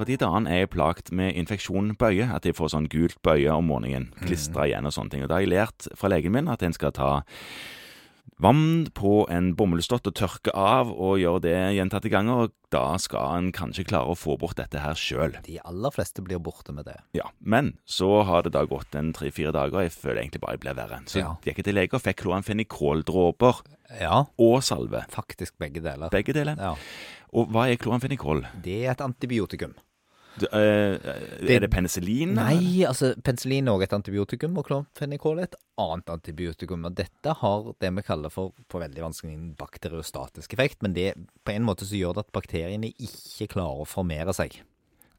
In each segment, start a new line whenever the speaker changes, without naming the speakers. Fordi damen er plagt med infeksjonbøye, at de får sånn gult bøye om morgenen.
Mhm.
Klistra igjen og sånne ting. Og da har jeg lært fra legen min at en skal ta vann på en bomullsdott og tørke av, og gjøre det gjentatte ganger. Og da skal en kanskje klare å få bort dette her sjøl.
De aller fleste blir borte med det.
Ja, men så har det da gått en tre-fire dager, og jeg føler egentlig bare jeg blir verre. Så
Ja.
gikk jeg til lege og fikk kloramfenikoldråper
Ja,
og salve.
faktisk begge deler.
Begge deler.
Ja.
Og hva er kloramfenikol?
Det er et antibiotikum.
D- eh, er det penicillin?
Nei, altså penicillin er også et antibiotikum, og klonfenikol er et annet antibiotikum. Og dette har det vi kaller for på veldig vanskelig en bakteriostatisk effekt, men det på en måte så gjør det at bakteriene ikke klarer å formere seg.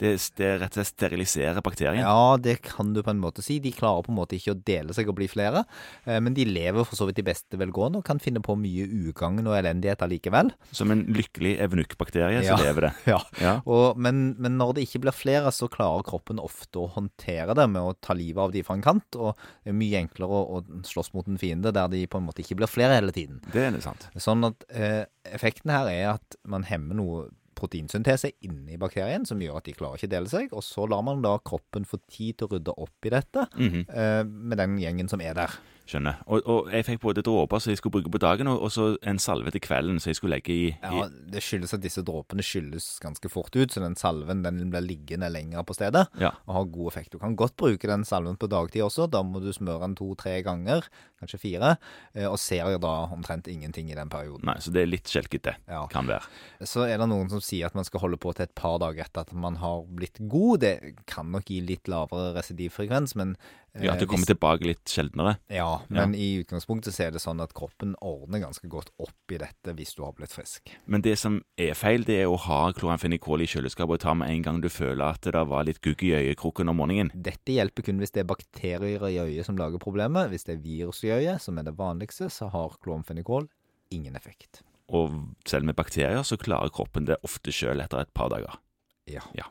Det, det rett og slett steriliserer bakterien?
Ja, det kan du på en måte si. De klarer på en måte ikke å dele seg og bli flere, eh, men de lever for så vidt i beste velgående og kan finne på mye ugagn og elendighet allikevel.
Som en lykkelig evnukkbakterie
Ja.
så lever det.
Ja.
Ja.
Og, men, men når det ikke blir flere, så klarer kroppen ofte å håndtere det med å ta livet av de fra en kant. Og det er mye enklere å, å slåss mot en fiende der de på en måte ikke blir flere hele tiden.
Det er det sant.
Sånn at eh, effekten her er at man hemmer noe proteinsyntese inni bakterien som gjør at de klarer ikke å dele seg, og så lar man da kroppen få tid til å rydde opp i dette eh, med den gjengen som er der.
Skjønner. Og, og jeg fikk både dråper som jeg skulle bruke på dagen, og, og så en salve til kvelden som jeg skulle legge i,
Ja, Det skyldes at disse dråpene skylles ganske fort ut, så den salven den blir liggende lenger på stedet.
i ja.
og har god effekt. Du kan godt bruke den salven på dagtid også. Da må du smøre den to-tre ganger, kanskje fire, eh, og ser da omtrent ingenting i den perioden.
Nei, så det er litt skjelkete.
Ja.
Kan være.
Så er det noen som sier at man skal holde på til et par dager etter at man har blitt god. Det kan nok gi litt lavere residivfrekvens, men eh,
Ja, At det kommer
hvis-
tilbake litt sjeldnere.
ja, men i utgangspunktet så er det sånn at kroppen ordner ganske godt opp i dette hvis du har blitt frisk.
Men det som er feil, det er å ha kloramfenikol i kjøleskapet og ta med en gang du føler at det var litt gugg i øyekroken om morgenen.
Dette hjelper kun hvis det er bakterier i øyet som lager problemet. Hvis det er virus i øyet, som er det vanligste, så har klomfenikol ingen effekt.
Og selv med bakterier så klarer kroppen det ofte sjøl etter et par dager.
Ja.
Ja.